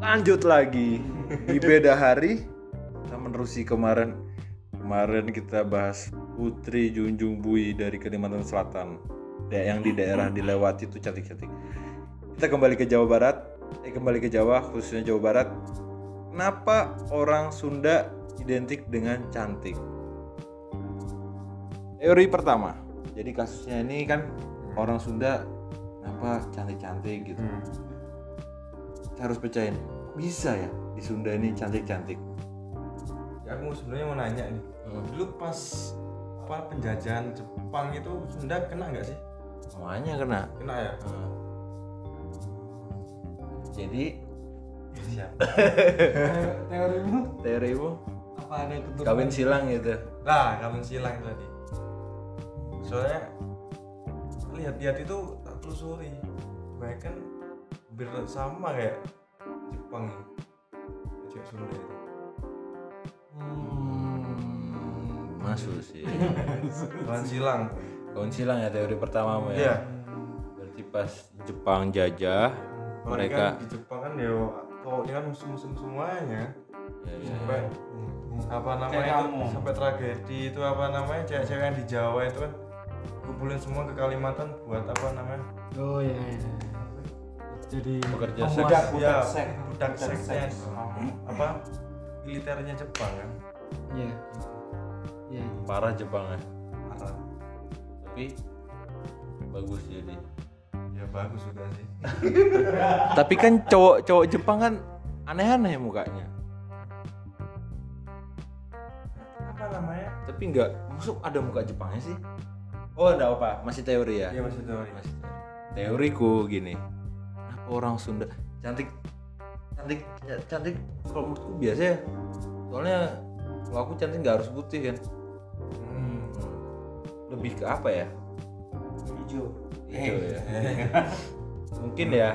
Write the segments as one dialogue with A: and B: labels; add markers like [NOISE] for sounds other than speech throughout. A: lanjut [LAUGHS] lagi di beda hari kita menerusi kemarin kemarin kita bahas Putri Junjung Bui dari Kalimantan Selatan ya, yang di daerah dilewati itu cantik-cantik kita kembali ke Jawa Barat eh kembali ke Jawa khususnya Jawa Barat kenapa orang Sunda identik dengan cantik teori pertama jadi kasusnya ini kan orang Sunda kenapa cantik-cantik gitu
B: Hmm.
A: Saya harus percayain bisa ya di Sunda ini cantik-cantik
B: Ya, aku sebenarnya mau nanya nih. Dulu pas apa penjajahan Jepang itu Sunda kena nggak sih?
A: semuanya kena
B: Kena ya.
A: jadi
B: Ya, [LAUGHS] Siap.
C: teorimu
A: teorimu
C: apa ada keturunan
A: kawin silang gitu
B: Nah, kawin silang tadi. Soalnya lihat-lihat itu tak telusuri. Banyak kan hampir sama kayak Jepang nih. Cewek Sunda itu.
A: hmm, masuk sih
B: Kawin silang.
A: kawin silang ya teori pertamamu
B: Iya.
A: ya berarti pas Jepang jajah
B: Soalnya
A: mereka
B: kan di Jepang kan ya cowoknya kan musuh-musuh semuanya.
A: Ya, ya.
B: sampai mm, apa namanya
C: Kayak
B: itu
C: kamu.
B: sampai tragedi itu apa namanya cewek-cewek yang di Jawa itu kan kumpulin semua ke Kalimantan buat apa namanya
C: oh iya, iya. jadi
A: Pekerja
C: pemuas.
A: seks.
B: Iya,
C: budak seks
B: budak seksnya apa militernya Jepang kan
C: iya iya
A: parah Jepang ya
B: Parah.
A: tapi bagus jadi
B: ya bagus juga sih
A: tapi kan cowok cowok Jepang kan aneh-aneh mukanya
B: apa namanya
A: tapi nggak masuk ada muka Jepangnya sih oh ada apa masih teori ya
B: iya masih teori
A: Mas, teoriku gini kenapa orang Sunda cantik cantik ya, cantik kalau menurutku biasa ya soalnya kalau aku cantik nggak harus putih kan
B: hmm.
A: lebih ke apa ya
C: hijau
A: Hijau
B: Gitu Eh.
A: ya [LAUGHS] mungkin ya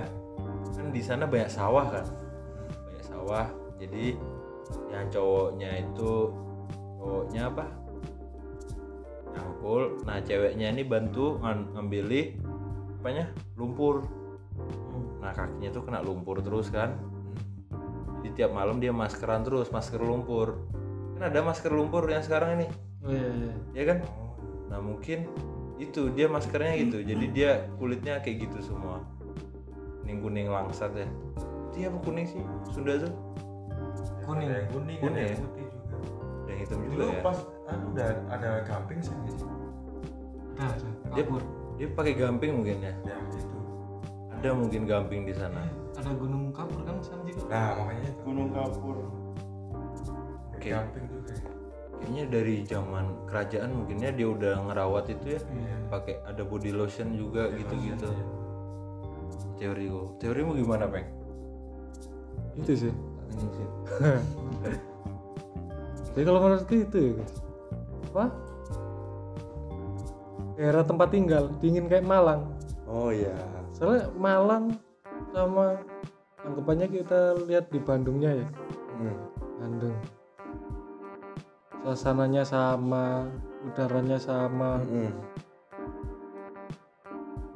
A: kan di sana banyak sawah kan banyak sawah jadi yang cowoknya itu cowoknya apa nyangkul nah ceweknya ini bantu ngan- ngambilih apanya lumpur nah kakinya tuh kena lumpur terus kan di tiap malam dia maskeran terus masker lumpur kan ada masker lumpur yang sekarang ini
C: oh iya, iya.
A: ya kan nah mungkin itu dia maskernya gitu jadi dia kulitnya kayak gitu semua kuning kuning langsat ya dia apa kuning sih Sunda tuh
B: kuning ada yang kuning, ada
A: Kuning
B: yang
A: ya?
B: putih juga
A: ada yang hitam juga
B: dulu
A: ya
B: pas anu udah ada gamping sih nggak sih?
C: ada Nah, ada
A: dia
C: kabur
A: dia pakai gamping mungkin ya
B: ya itu
A: ada mungkin gamping di sana
C: ada gunung kabur kan sama juga
B: nah makanya itu
D: Gunung Kapur.
A: Oke.
B: gamping juga ya.
A: kayaknya dari zaman kerajaan mungkinnya dia udah ngerawat itu ya
B: Iya.
A: pakai ada body lotion juga gitu gitu teori gua teorimu gimana peng
C: itu sih Jadi kalau menurutku itu ya guys. Apa? Daerah tempat tinggal dingin kayak Malang.
B: oh iya
C: Soalnya Malang sama anggapannya kita lihat di Bandungnya ya.
B: hmm.
C: Bandung. Suasananya sama, udaranya sama.
B: Hmm.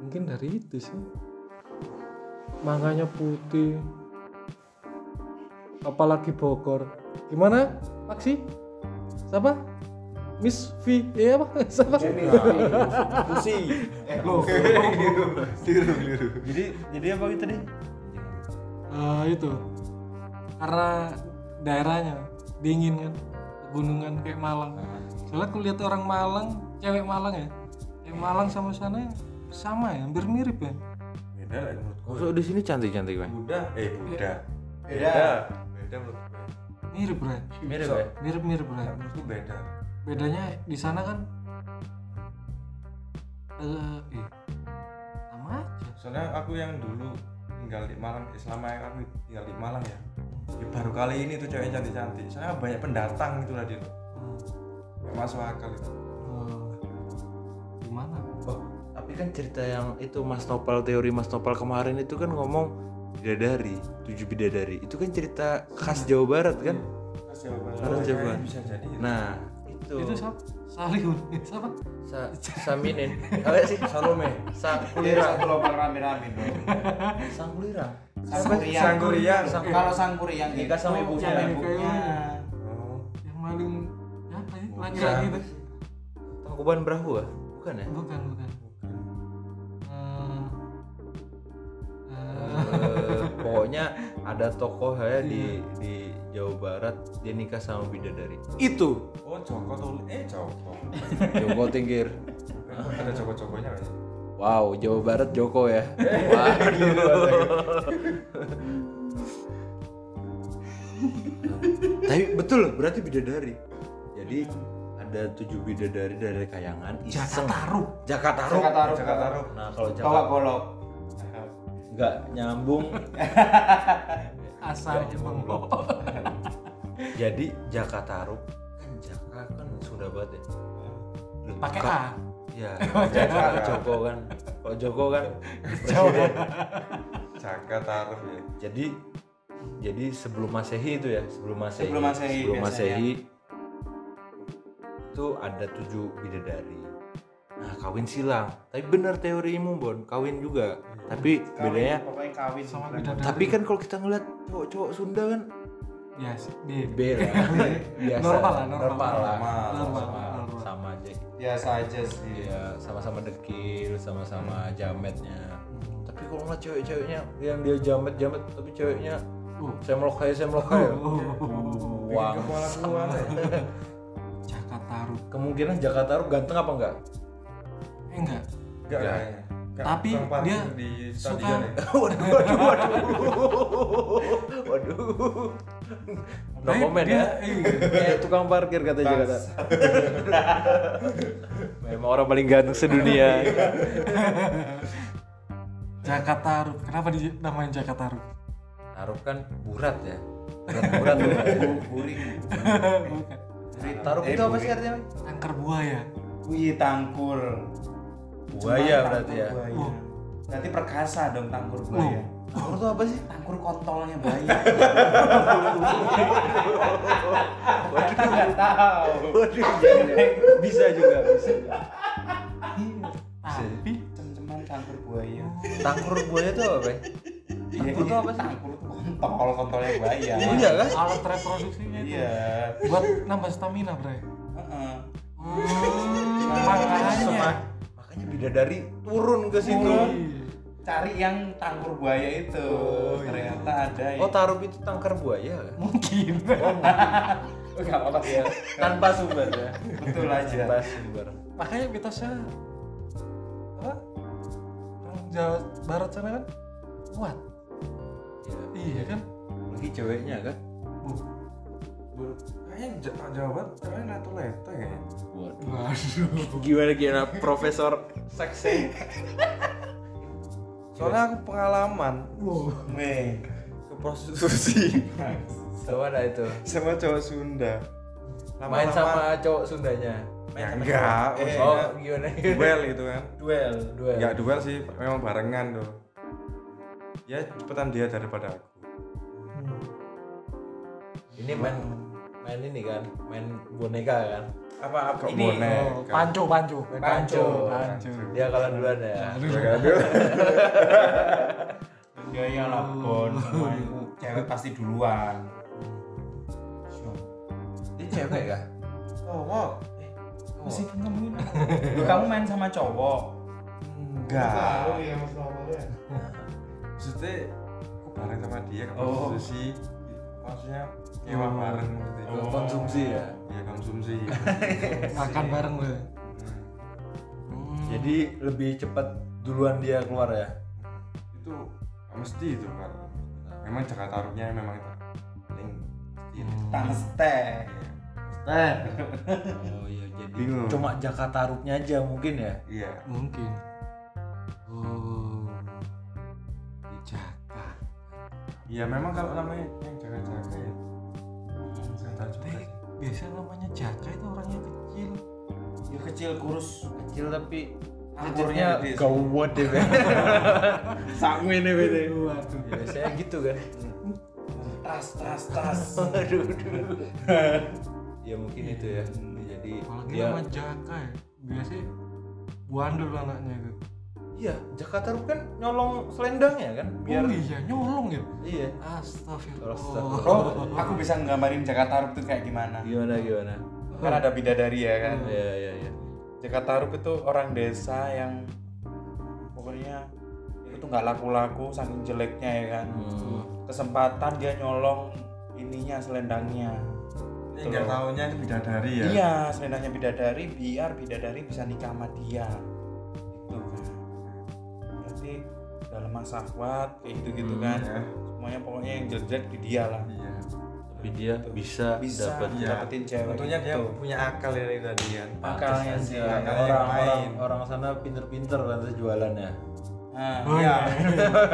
C: Mungkin dari itu sih. Manganya putih. Apalagi Bogor. Gimana? Maksi? Siapa? Miss V, iya apa? [LAUGHS] Siapa?
D: Susi.
A: jadi jadi apa gitu deh
C: Eh, itu karena daerahnya dingin kan pegunungan kayak Malang soalnya aku lihat orang Malang cewek Malang ya cewek Malang sama sana sama ya hampir mirip ya
B: beda lah menurutku
A: [LAUGHS] masuk di sini cantik cantik peng
B: Buddha eh
A: Iya.
B: Buddha
D: Beda.
B: beda menurut gue
C: mirip bro
A: mirip ya
C: mirip mirip bro
B: menurutku beda
C: bedanya di sana kan eh eh, sama aja
B: soalnya aku yang dulu tinggal di Malang eh, selama yang aku tinggal di Malang ya, ya baru kali ini tuh cewek cantik cantik soalnya banyak pendatang gitu lah dia tuh.
C: Hmm.
B: Nggak masuk akal itu
C: Oh. gimana
A: Oh, tapi kan cerita yang itu Mas Nopal teori Mas Nopal kemarin itu kan ngomong bidadari, tujuh bidadari. Itu kan cerita khas Jawa Barat kan? Harus
B: Kayaknya
A: coba.
B: Nah, bisa jadi ya.
A: Nah, itu.
C: itu siapa Salihun siapa
A: Sa Saminin. Apa sih? Salome. Sa Iya,
D: Kulira. Satu lubang rame-rame dong.
A: Sangkulirang.
D: Sangguriang.
B: Sangguriang.
D: Sang- Kalau gitu. Iya. Sangguriang itu
A: Nikah
C: Oh,
A: sama ibunya.
D: sama
C: Nikah
D: ibunya.
C: ibunya.
B: Oh,
C: ya. yang maling apa ya
B: Bukan.
C: laki-laki itu
A: Tangkuban Perahu ah? Bukan ya?
C: bukan bukan
B: bukan.
C: Eh, eh,
A: Eh, pokoknya ada tokoh ya di di Jawa Barat dia nikah sama bidadari. Itu
B: Oh, Joko tuh. Eh, Joko.
A: Joko Tinggir.
B: Ada Joko-Jokonya kan?
A: Wow, Jawa Barat Joko ya. Waduh. Tapi betul berarti bidadari. Jadi ada tujuh bidadari dari kayangan iseng.
C: Taruh
A: Jakarta
D: Jakarta Rup.
B: Jakarta Rup.
A: Nah, kalau
D: Bawa
A: Jakarta
D: golok.
A: nggak nyambung
C: asal
A: Nggak,
C: bengkok
A: [LAUGHS] jadi Jakarta Rup kan Jaka kan Sunda banget ya. Lu
C: pakai
A: Ka- [LAUGHS]
C: A
A: Iya. Jaka Joko kan. Kalau Joko kan presiden.
B: Jakarta Rup ya.
A: Jadi jadi sebelum Masehi itu ya, sebelum Masehi.
D: Sebelum Masehi
A: sebelum
D: biasanya.
A: Masehi itu ada tujuh bidadari. Nah, kawin silang. Tapi benar teorimu, Bon. Kawin juga. Tapi
D: Hmm. Kawin,
A: bedanya
D: pokoknya kawin
C: sama
D: Bukan.
C: bidadari
A: tapi kan kalau kita ngeliat cowok-cowok Sunda kan
C: biasa
A: B
C: [LAUGHS]
A: lah. Biasa.
C: Normal lah, normal.
A: lah.
B: Normal,
A: Sama,
C: normal.
A: sama aja.
D: biasa aja sih.
A: Iya, sama-sama dekil, sama-sama jametnya.
C: Hmm.
A: Tapi kalau ngeliat cewek-ceweknya yang dia jamet-jamet tapi ceweknya "Uh,
C: Oh.
A: semlok kayak semlok kayak.
C: Uh.
A: Buang.
B: Kepala keluar ya.
C: Jakarta Taruh
A: Kemungkinan Jakarta Rup ganteng apa
C: [LAUGHS]
A: enggak?
C: eh enggak
B: Enggak kayaknya. Enggak,
C: Tapi
B: tukang parkir
C: dia
B: di
C: suka-
B: stadion ya.
A: waduh, waduh, waduh. waduh. No
C: Tapi
A: comment ya.
C: dia- iya.
A: Kayak tukang parkir kata Jakarta. [LAUGHS] Memang orang paling ganteng sedunia.
C: Jakarta Taruh kenapa dinamain Jakarta Taruh
A: Taruh kan burat ya. [LAUGHS] Burat, burat.
D: Bu- Burik.
C: bukan
D: Burik.
A: Taruh
D: Eh,
A: itu apa sih
D: burik.
A: artinya?
C: kanker buaya
D: Wih, tangkur.
A: Buaya
D: Cuma
A: berarti ya.
D: tangkur buaya. Nanti perkasa dong tangkur buaya.
A: Taruh Oh. itu apa sih? Iya.
D: Tangkur kontolnya
A: [LAUGHS]
D: buaya.
A: Waduh.
D: Kita nggak tahu.
A: Waduh, jangan. bisa juga, bisa juga.
C: tapi
D: Cem-ceman Iya. tangkur buaya. Iya,
A: Tangkur buaya itu apa, Bay? Oh. Tangkur itu apa sih?
D: Tangkur tuh kontol, kontolnya buaya.
A: Iya kan?
C: alat reproduksinya itu
D: Iya.
C: buat nambah stamina
A: [LAUGHS]
C: bre
D: Heeh.
C: makanya
D: Semak-
A: Makanya bidadari turun ke situ.
D: Cari yang tangkur buaya itu. Ternyata ada.
A: iya. Oh, taruh itu tangkar buaya kan?
C: mungkin
D: Enggak apa-apa
A: ya.
D: sih.
A: Tanpa sumber ya.
D: Betul aja.
A: Tanpa sumber.
C: makanya mitosnya apa orang Jawa Barat sana kan kuat
A: Ya.
C: iya kan
A: Lagi ceweknya kan?
C: uh.
B: Kayaknya Ja- Jawa Barat ya. cewek leto-leto kayaknya.
A: Waduh.
C: waduh
A: Gimana gimana Profesor Seksi?
B: Soalnya aku pengalaman
D: Weh.
B: ke prostitusi [LAUGHS]
A: Sama ada itu.
B: sama cowok Sunda.
A: Main
B: Lama-lama-
A: sama cowok Sundanya.
B: Ya enggak,
A: Oh,
B: maksudnya
A: gimana?
B: duel gitu kan.
A: [LAUGHS] Duel. Ya. Duel.
B: Enggak duel sih, memang barengan tuh. Ya cepetan dia daripada aku.
A: Ini main main ini kan, main boneka kan.
B: Apa apa
D: Ini,
C: Oh, panco panco
A: Panco.
C: panco
A: Dia kalah duluan ya.
D: Ya iyalah Bon, semua itu cewek pasti duluan.
A: Dia cewek
D: ya?
A: kah?
B: Cowok.
D: Eh,
C: masih ketemu
D: Lu kamu main sama cowok?
B: Enggak.
D: iya.
B: Maksudnya aku bareng sama dia ke
D: Oh.
B: prostitusi. Maksudnya nyewa bareng gitu.
A: Gua Konsumsi ya.
B: Ya konsumsi.
A: Iya.
C: makan bareng Hmm, bre
A: Jadi lebih cepat duluan dia keluar ya.
B: itu mesti itu kan. Memang Jakarta Arabnya memang itu. Paling mesti ya. itu.
D: Tangste. Teh.
A: Oh iya jadi
B: Bingung.
A: cuma Jakarta Rupnya aja mungkin ya.
B: Iya.
C: mungkin oh di Jakarta
B: Iya memang kalau namanya yang jaga-jaga ya. Jakarta juga.
A: Iya.
C: biasa namanya Jaka itu orangnya kecil
D: Ya kecil kurus.
A: Kecil tapi
D: Anggurnya gede sih.
A: gawat ya, deh. Bang.
D: Sangu ini bete.
C: waduh
A: Biasanya gitu kan.
D: Tas tas tas.
A: [LAUGHS] Aduh, aduh. ya mungkin itu ya. Jadi ya.
C: apalagi
A: dia
C: nama Jaka ya biasanya buandel anaknya itu
A: Iya, Jakarta Roof kan nyolong selendangnya kan biar
C: oh iya nyolong ya
A: iya.
C: astagfirullah
A: Astagfirullah.
D: Oh, aku bisa nggambarin Jakarta Rup itu kayak gimana.
A: Gimana gimana?
D: Kan ada bidadari ya kan.
A: Iya iya iya.
D: Jakarta Rup itu orang desa yang pokoknya itu tuh nggak laku-laku saking jeleknya ya kan. Kesempatan dia nyolong ininya selendangnya.
B: ini nggak taunya itu bidadari ya
D: Iya, selendangnya bidadari biar bidadari bisa nikah sama dia. Itu kan. Berarti dalam masa kuat kayak gitu-gitu kan.
B: ya.
D: Semuanya pokoknya yang jelek di dia lah.
B: iya
A: Tapi dia bisa,
D: Bisa
A: dapat
B: Iya.
D: dapetin cewek.
B: tentunya dia
D: itu.
B: punya akal ya dari tadi kan
D: akalnya
A: Pantes
D: sih.
A: aja.
B: akalnya
A: orang,
B: yang
A: orang
B: lain.
A: orang sana pinter-pinter kan jualannya.
D: Nah,
C: Oh,
D: iya.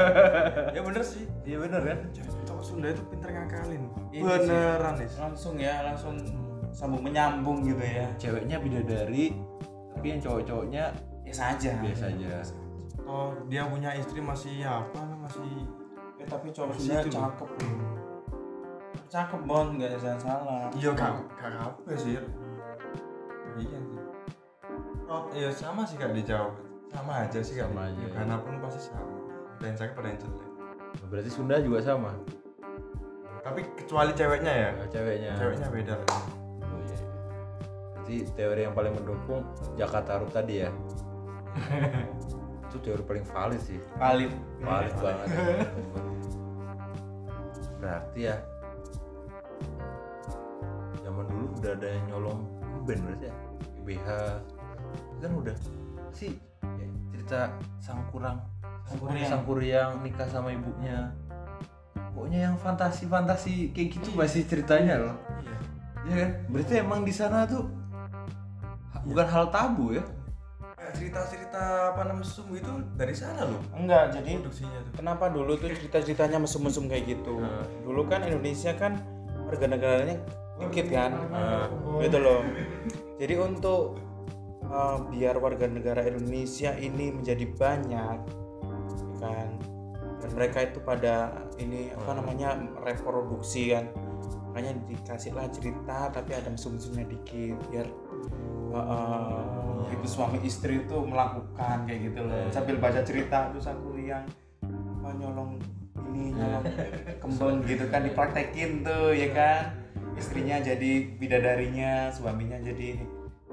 B: [LAUGHS] ya bener sih
A: Iya bener kan?
B: cowok Sunda itu pinter ngakalin
D: Iya
B: beneran nih
D: langsung ya langsung sambung menyambung gitu ya
A: Ceweknya bidadari, tapi yang cowok-cowoknya
D: biasa aja
A: biasa aja.
B: oh dia punya istri masih apa masih
D: Eh, tapi cowok
B: Masih
D: Sunda
B: itu.
D: cakep loh cakep bon nggak ada yang salah
B: iya gak gak apa sih iya sih oh iya sama sih gak dijawab sama aja sih
A: Sama
B: kan
A: aja, ya.
B: karena pun pasti sama ada yang cakep ada yang jelek
A: Berarti Sunda juga sama
B: tapi kecuali ceweknya ya
A: ceweknya.
B: ceweknya beda lah
A: Oh, iya. Berarti teori yang paling mendukung Jakarta Rup tadi ya. itu teori paling valid sih.
D: valid
A: Valid banget. Berarti ya zaman dulu udah ada yang nyolong band berarti ya. GBH kan udah sih ya, cerita sang kurang
D: Sangkuriang.
A: sang kuriang nikah sama ibunya pokoknya yang fantasi fantasi kayak gitu masih ceritanya loh
B: iya
A: Iya kan? Berarti emang di sana tuh ha- bukan hal tabu ya?
B: Kayak cerita-cerita apa namanya sum itu dari sana loh
D: enggak jadi
B: produksinya tuh
D: kenapa dulu tuh cerita ceritanya mesum mesum kayak gitu dulu kan Indonesia kan warga negaranya dikit kan gitu loh jadi untuk eh, biar warga negara Indonesia ini menjadi banyak ya kan dan mereka itu pada ini apa namanya reproduksi kan makanya dikasihlah cerita tapi ada mesum-mesumnya dikit biar eh, eh, itu suami istri itu melakukan kayak gitu loh sambil baca cerita terus aku yang apa, nyolong ini nyolong kembang gitu kan dipraktekin tuh ya kan istrinya jadi bidadarinya suaminya jadi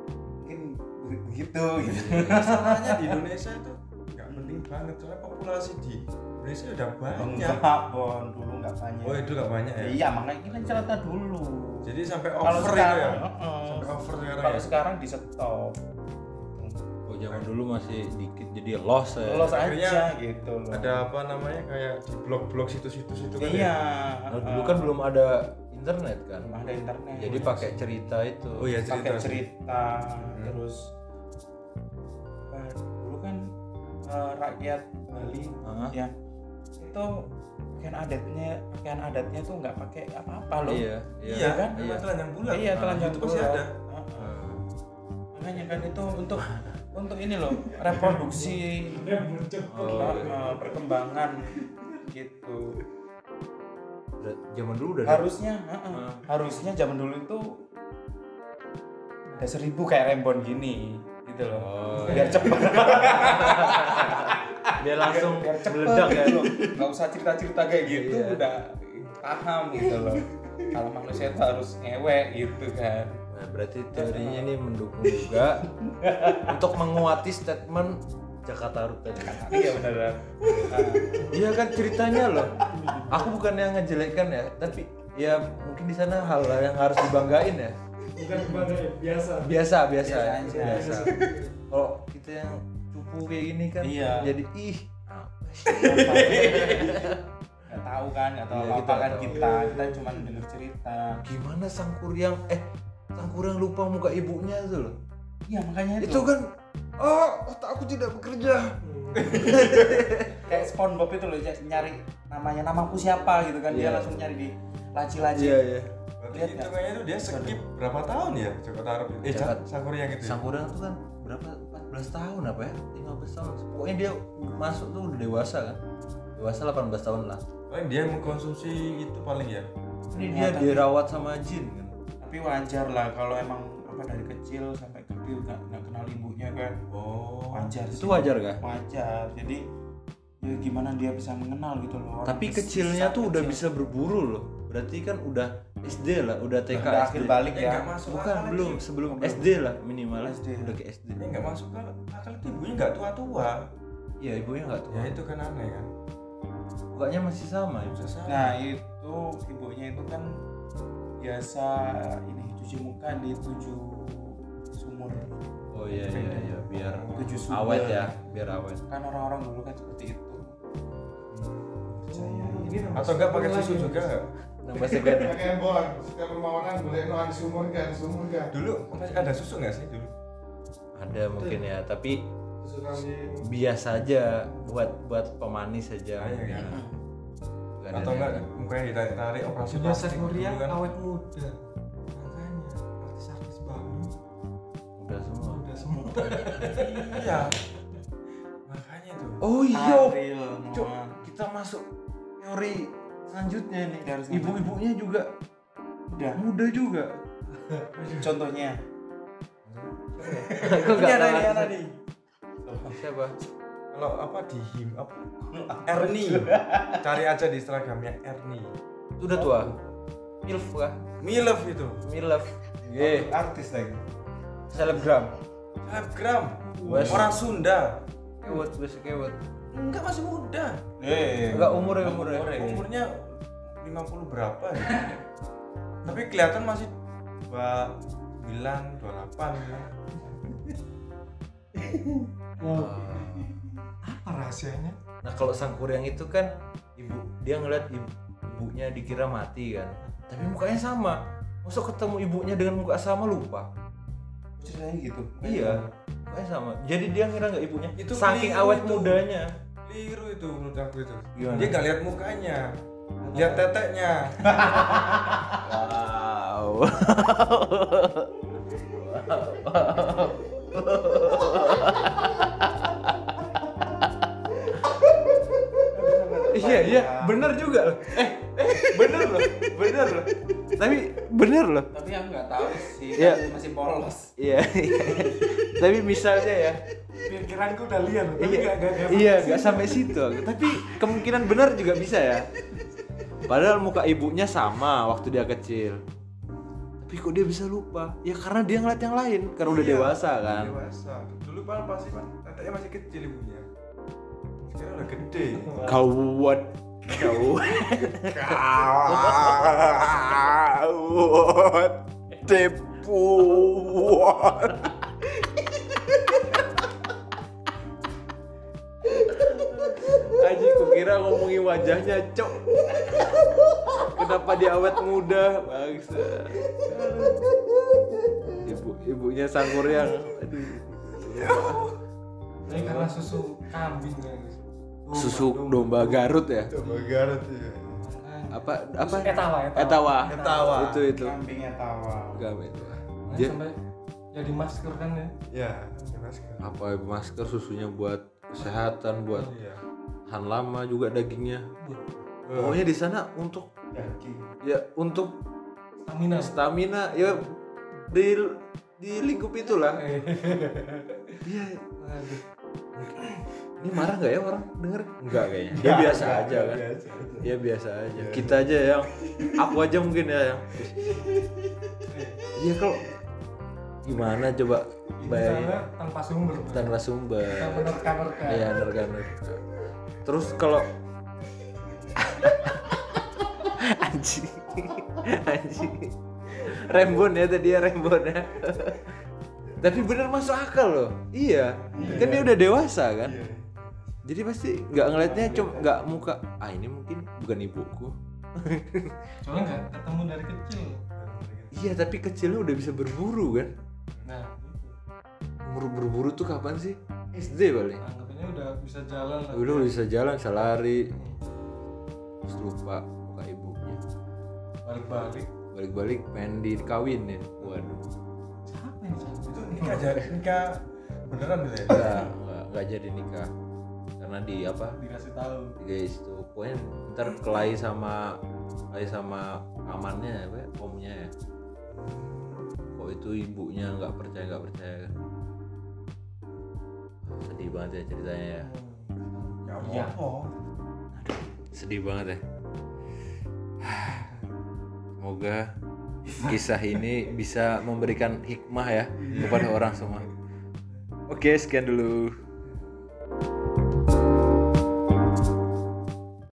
D: mungkin begitu gitu
B: masalahnya di Indonesia itu nggak penting banget soalnya populasi di Indonesia udah banyak
D: [LAUGHS] enggak bon dulu nggak banyak
B: oh itu nggak banyak ya
D: iya makanya kita cerita dulu
B: jadi sampai
D: kalau
B: over itu ya
D: sekarang uh-uh.
B: sampai over sekarang
D: kalau
B: ya
D: sekarang di stop
A: Oh zaman dulu masih dikit jadi los ya.
D: los
B: akhirnya
D: aja gitu loh
B: ada apa namanya kayak di blok-blok situs-situs itu kan
D: iya
A: Nah, dulu kan belum ada internet kan.
D: belum ada internet
A: Jadi pakai cerita itu.
B: oh iya
D: pakai
B: cerita sih. Hmm.
D: cerita terus apa, dulu kan eh, rakyat Bali
A: Hah?
D: ya itu pakaian adatnya pakaian adatnya tuh nggak pakai apa-apa loh
A: Iya, iya.
B: iya kan
A: Iya.
B: memang telanjang bulat
D: iya
B: Nah,
D: telanjang
B: itu pasti
D: bulat.
B: ada
D: Heeh. makanya kan itu untuk untuk ini loh reproduksi
A: Oh, iya.
D: eh, perkembangan gitu
A: Ber- Zaman dulu udah ada-
D: harusnya heeh. harusnya zaman dulu itu ada seribu kayak rembon gini gitu loh
A: Oh,
D: biar
A: iya.
D: cepet
A: dia langsung
D: [LAUGHS] biar cepet
A: meledak ya.
D: gitu loh nggak usah cerita cerita kayak gitu
A: Iya.
D: udah paham gitu loh kalau manusia itu harus ngewek gitu kan
A: Nah, berarti teorinya ini mendukung [LAUGHS] juga untuk menguati statement Jakarta Rup tadi.
D: iya beneran
A: Iya kan ceritanya loh. Aku bukan yang ngejelekan ya, tapi ya mungkin di sana hal yang harus dibanggain ya.
C: bukan kepada biasa
A: Biasa biasa.
D: Biasa aja.
A: biasa. Kalau kita yang cupu kayak gini kan
D: Iya.
A: jadi ih. ah,
D: nggak tahu kan nggak tahu
A: Iya,
D: apa
A: kita nggak
D: kan
A: tahu.
D: kita kita cuma denger cerita
A: Gimana sang kuryang eh sang kuryang lupa muka ibunya tuh loh.
D: iya makanya itu,
A: Itu kan oh otak aku tidak bekerja.
D: kayak SpongeBob itu loh ny- nyari namanya namaku siapa gitu kan
A: Iya.
D: dia langsung nyari di laci-laci
A: iya.
B: berarti
D: Lihat ya.
B: itu
D: nggak?
B: kayaknya itu dia skip berapa tahun ya Joko Tarub eh
A: Jakarta.
B: Jan- Sangkuriang gitu ya?
A: Sang kuryang tuh kan berapa 14 tahun apa ya? 15 tahun. Pokoknya dia masuk tuh udah dewasa kan. Dewasa 18 tahun lah.
B: paling dia mengkonsumsi itu paling ya
A: Ini dia Iya,
D: Ternyata.
A: dirawat sama jin kan.
D: tapi wajar lah kalau emang apa dari kecil sampai gede nggak nggak kenal ibunya kan
B: oh
D: wajar
A: itu
D: sih.
A: wajar gak?
D: wajar jadi ya gimana dia bisa mengenal gitu loh orang
A: tapi
D: besar-
A: kecilnya tuh udah
D: kecil.
A: bisa berburu loh berarti kan udah SD lah udah TK
D: udah akhir
A: SD
D: balik
B: Ya,
D: ya
B: nggak masuk
A: bukan
B: akal
A: belum
B: itu.
A: sebelum
D: Belum.
A: SD lah minimal
D: SD.
A: udah ke SD
B: Ini nggak masuk akal akal itu ibunya nggak tua tua.
A: iya ibunya nggak tua
B: Ya itu kan aneh kan.
A: mukanya masih sama ya
B: Bisa salah.
D: nah itu ibunya itu kan biasa ini cuci muka di tujuh sumur
A: oh iya iya iya biar
D: tujuh sumur
A: awet ya biar awet
D: kan orang-orang dulu kan seperti itu percaya
B: Atau enggak pakai susu juga nggak?
A: nambah segan
E: Kayak bon, setiap rumah orang boleh nuan sumur kan, sumur kan.
B: Dulu masih ada susu nggak sih dulu?
A: ada mungkin ya tapi
E: Susu kami
A: bias aja buat buat pemanis aja
B: Iya,
A: mungkin.
B: iya.
A: Nggak ada
B: Atau
A: yang-
B: enggak mukanya ditarik tarik operasi
C: sudah saya
B: dulu
C: kuliah
A: gitu
B: kan?
C: awet muda makanya artis-artis baru
A: udah semua
C: udah semua
B: Iya. Makanya tuh.
A: oh iya
D: Ariel
A: Cuk,
D: Noah
A: kita masuk teori selanjutnya nih
D: Kita harus ngapain?
A: ibu-ibunya juga
D: udah
A: muda juga
D: [LAUGHS] contohnya
A: aku
D: ini ada ini ada nih
A: siapa
B: Kalau apa di him apa?
D: Ernie
B: Cari aja di Instagramnya Ernie.
A: Itu udah tua milf kah
B: Milf itu.
A: milf Ye,
E: artis lagi.
A: selebgram
B: Selebgram.
A: Wes.
B: Orang Sunda.
A: kewet wes kewet
B: Enggak masih muda.
D: eh
A: enggak umurnya umurnya
E: ya.
B: Umurnya 50 berapa ya? Tapi kelihatan masih 29, 28 gitu.
C: mau apa rahasianya
A: nah kalau sangkuriang itu kan ibu dia ngeliat ibu- ibunya dikira mati kan tapi mukanya sama masa ketemu ibunya dengan muka sama lupa
D: ceritanya gitu
A: iya mukanya sama jadi dia ngira nggak ibunya
B: Itu
A: saking
B: keliru
A: awet
B: itu.
A: mudanya
B: Keliru itu menurut aku itu.
A: Gimana?
B: Dia nggak lihat mukanya. Lihat teteknya.
A: iya iya bener juga loh eh eh bener loh bener loh tapi bener loh
D: tapi aku nggak tahu sih
A: Iya.
D: kan masih polos
A: iya iya. tapi misalnya ya
C: pikiranku udah liar tapi
A: iya
C: nggak nggak nggak-
A: iya nggak sampai situ aku. tapi kemungkinan benar juga bisa ya padahal muka ibunya sama waktu dia kecil tapi kok dia bisa lupa ya karena dia ngeliat yang lain karena udah
B: Iya,
A: dewasa kan
B: Dewasa. Dulu padahal pasti Pak, teteknya masih kecil ibunya. Sekarang udah gede.
A: kau buat kau
F: Kawat tepuan.
A: Aji kukira ngomongin wajahnya cok Kenapa dia awet muda Bangsa Ibu, Ibunya sangkuriang Aduh
C: Tapi karena susu kambing kan
A: Susu domba Garut ya
E: Coba garut ya.
A: Apa apa
C: Etawa, etawa.
A: Etawa,
E: Etawa.
A: Itu itu
D: kambingnya tawa
A: Gam itu
C: Makanya
A: Dia
C: sampai jadi masker kan ya
B: Iya,
E: Ya, jelas kan.
A: apa masker susunya buat kesehatan buat
E: Iya.
A: han lama juga dagingnya pokoknya di sana untuk
D: daging
A: ya untuk
C: stamina
A: stamina ya di di lingkup itulah iya
C: Aduh.
A: ini marah nggak ya orang denger nggak kayaknya dia biasa aja kan
B: Iya,
A: dia biasa aja kita aja ya, yang aku aja mungkin ya yang iya kalau gimana coba
C: Ini
A: bayangin
C: salah tanpa sumber
A: tanpa sumber
C: tanpa nerka-nerka
A: iya nerganer terus kalau [LAUGHS] anjing anjing rembon ya tadi ya rembon ya tapi bener masuk akal loh iya kan dia udah dewasa kan
B: Iya.
A: jadi pasti nggak ngelihatnya cuma nggak muka ah ini mungkin bukan ibuku
C: soalnya nggak ketemu dari kecil
A: iya tapi kecilnya udah bisa berburu kan
C: nah
A: umur berburu tuh kapan sih SD paling
C: anggapnya udah bisa jalan lah
A: Dulu bisa jalan, bisa lari. Terus lupa muka ibunya.
C: balik-balik
A: Balik-balik pengen dikawin ya. Waduh.
C: siapa yang jalan
B: Itu nikah jadi nikah beneran gitu ya.
A: Enggak, enggak, enggak jadi nikah. Karena di apa?
C: dikasih tahu
A: Guys, tuh pokoknya ntar kelahi sama kelahi sama amannya apa ya, omnya ya. Kok itu ibunya nggak percaya nggak percaya kan? sedih banget ya ceritanya ya
B: ya
A: Iya.
B: apa
A: sedih banget ya semoga kisah ini
C: Iya.
A: bisa memberikan hikmah ya kepada orang semua oke sekian dulu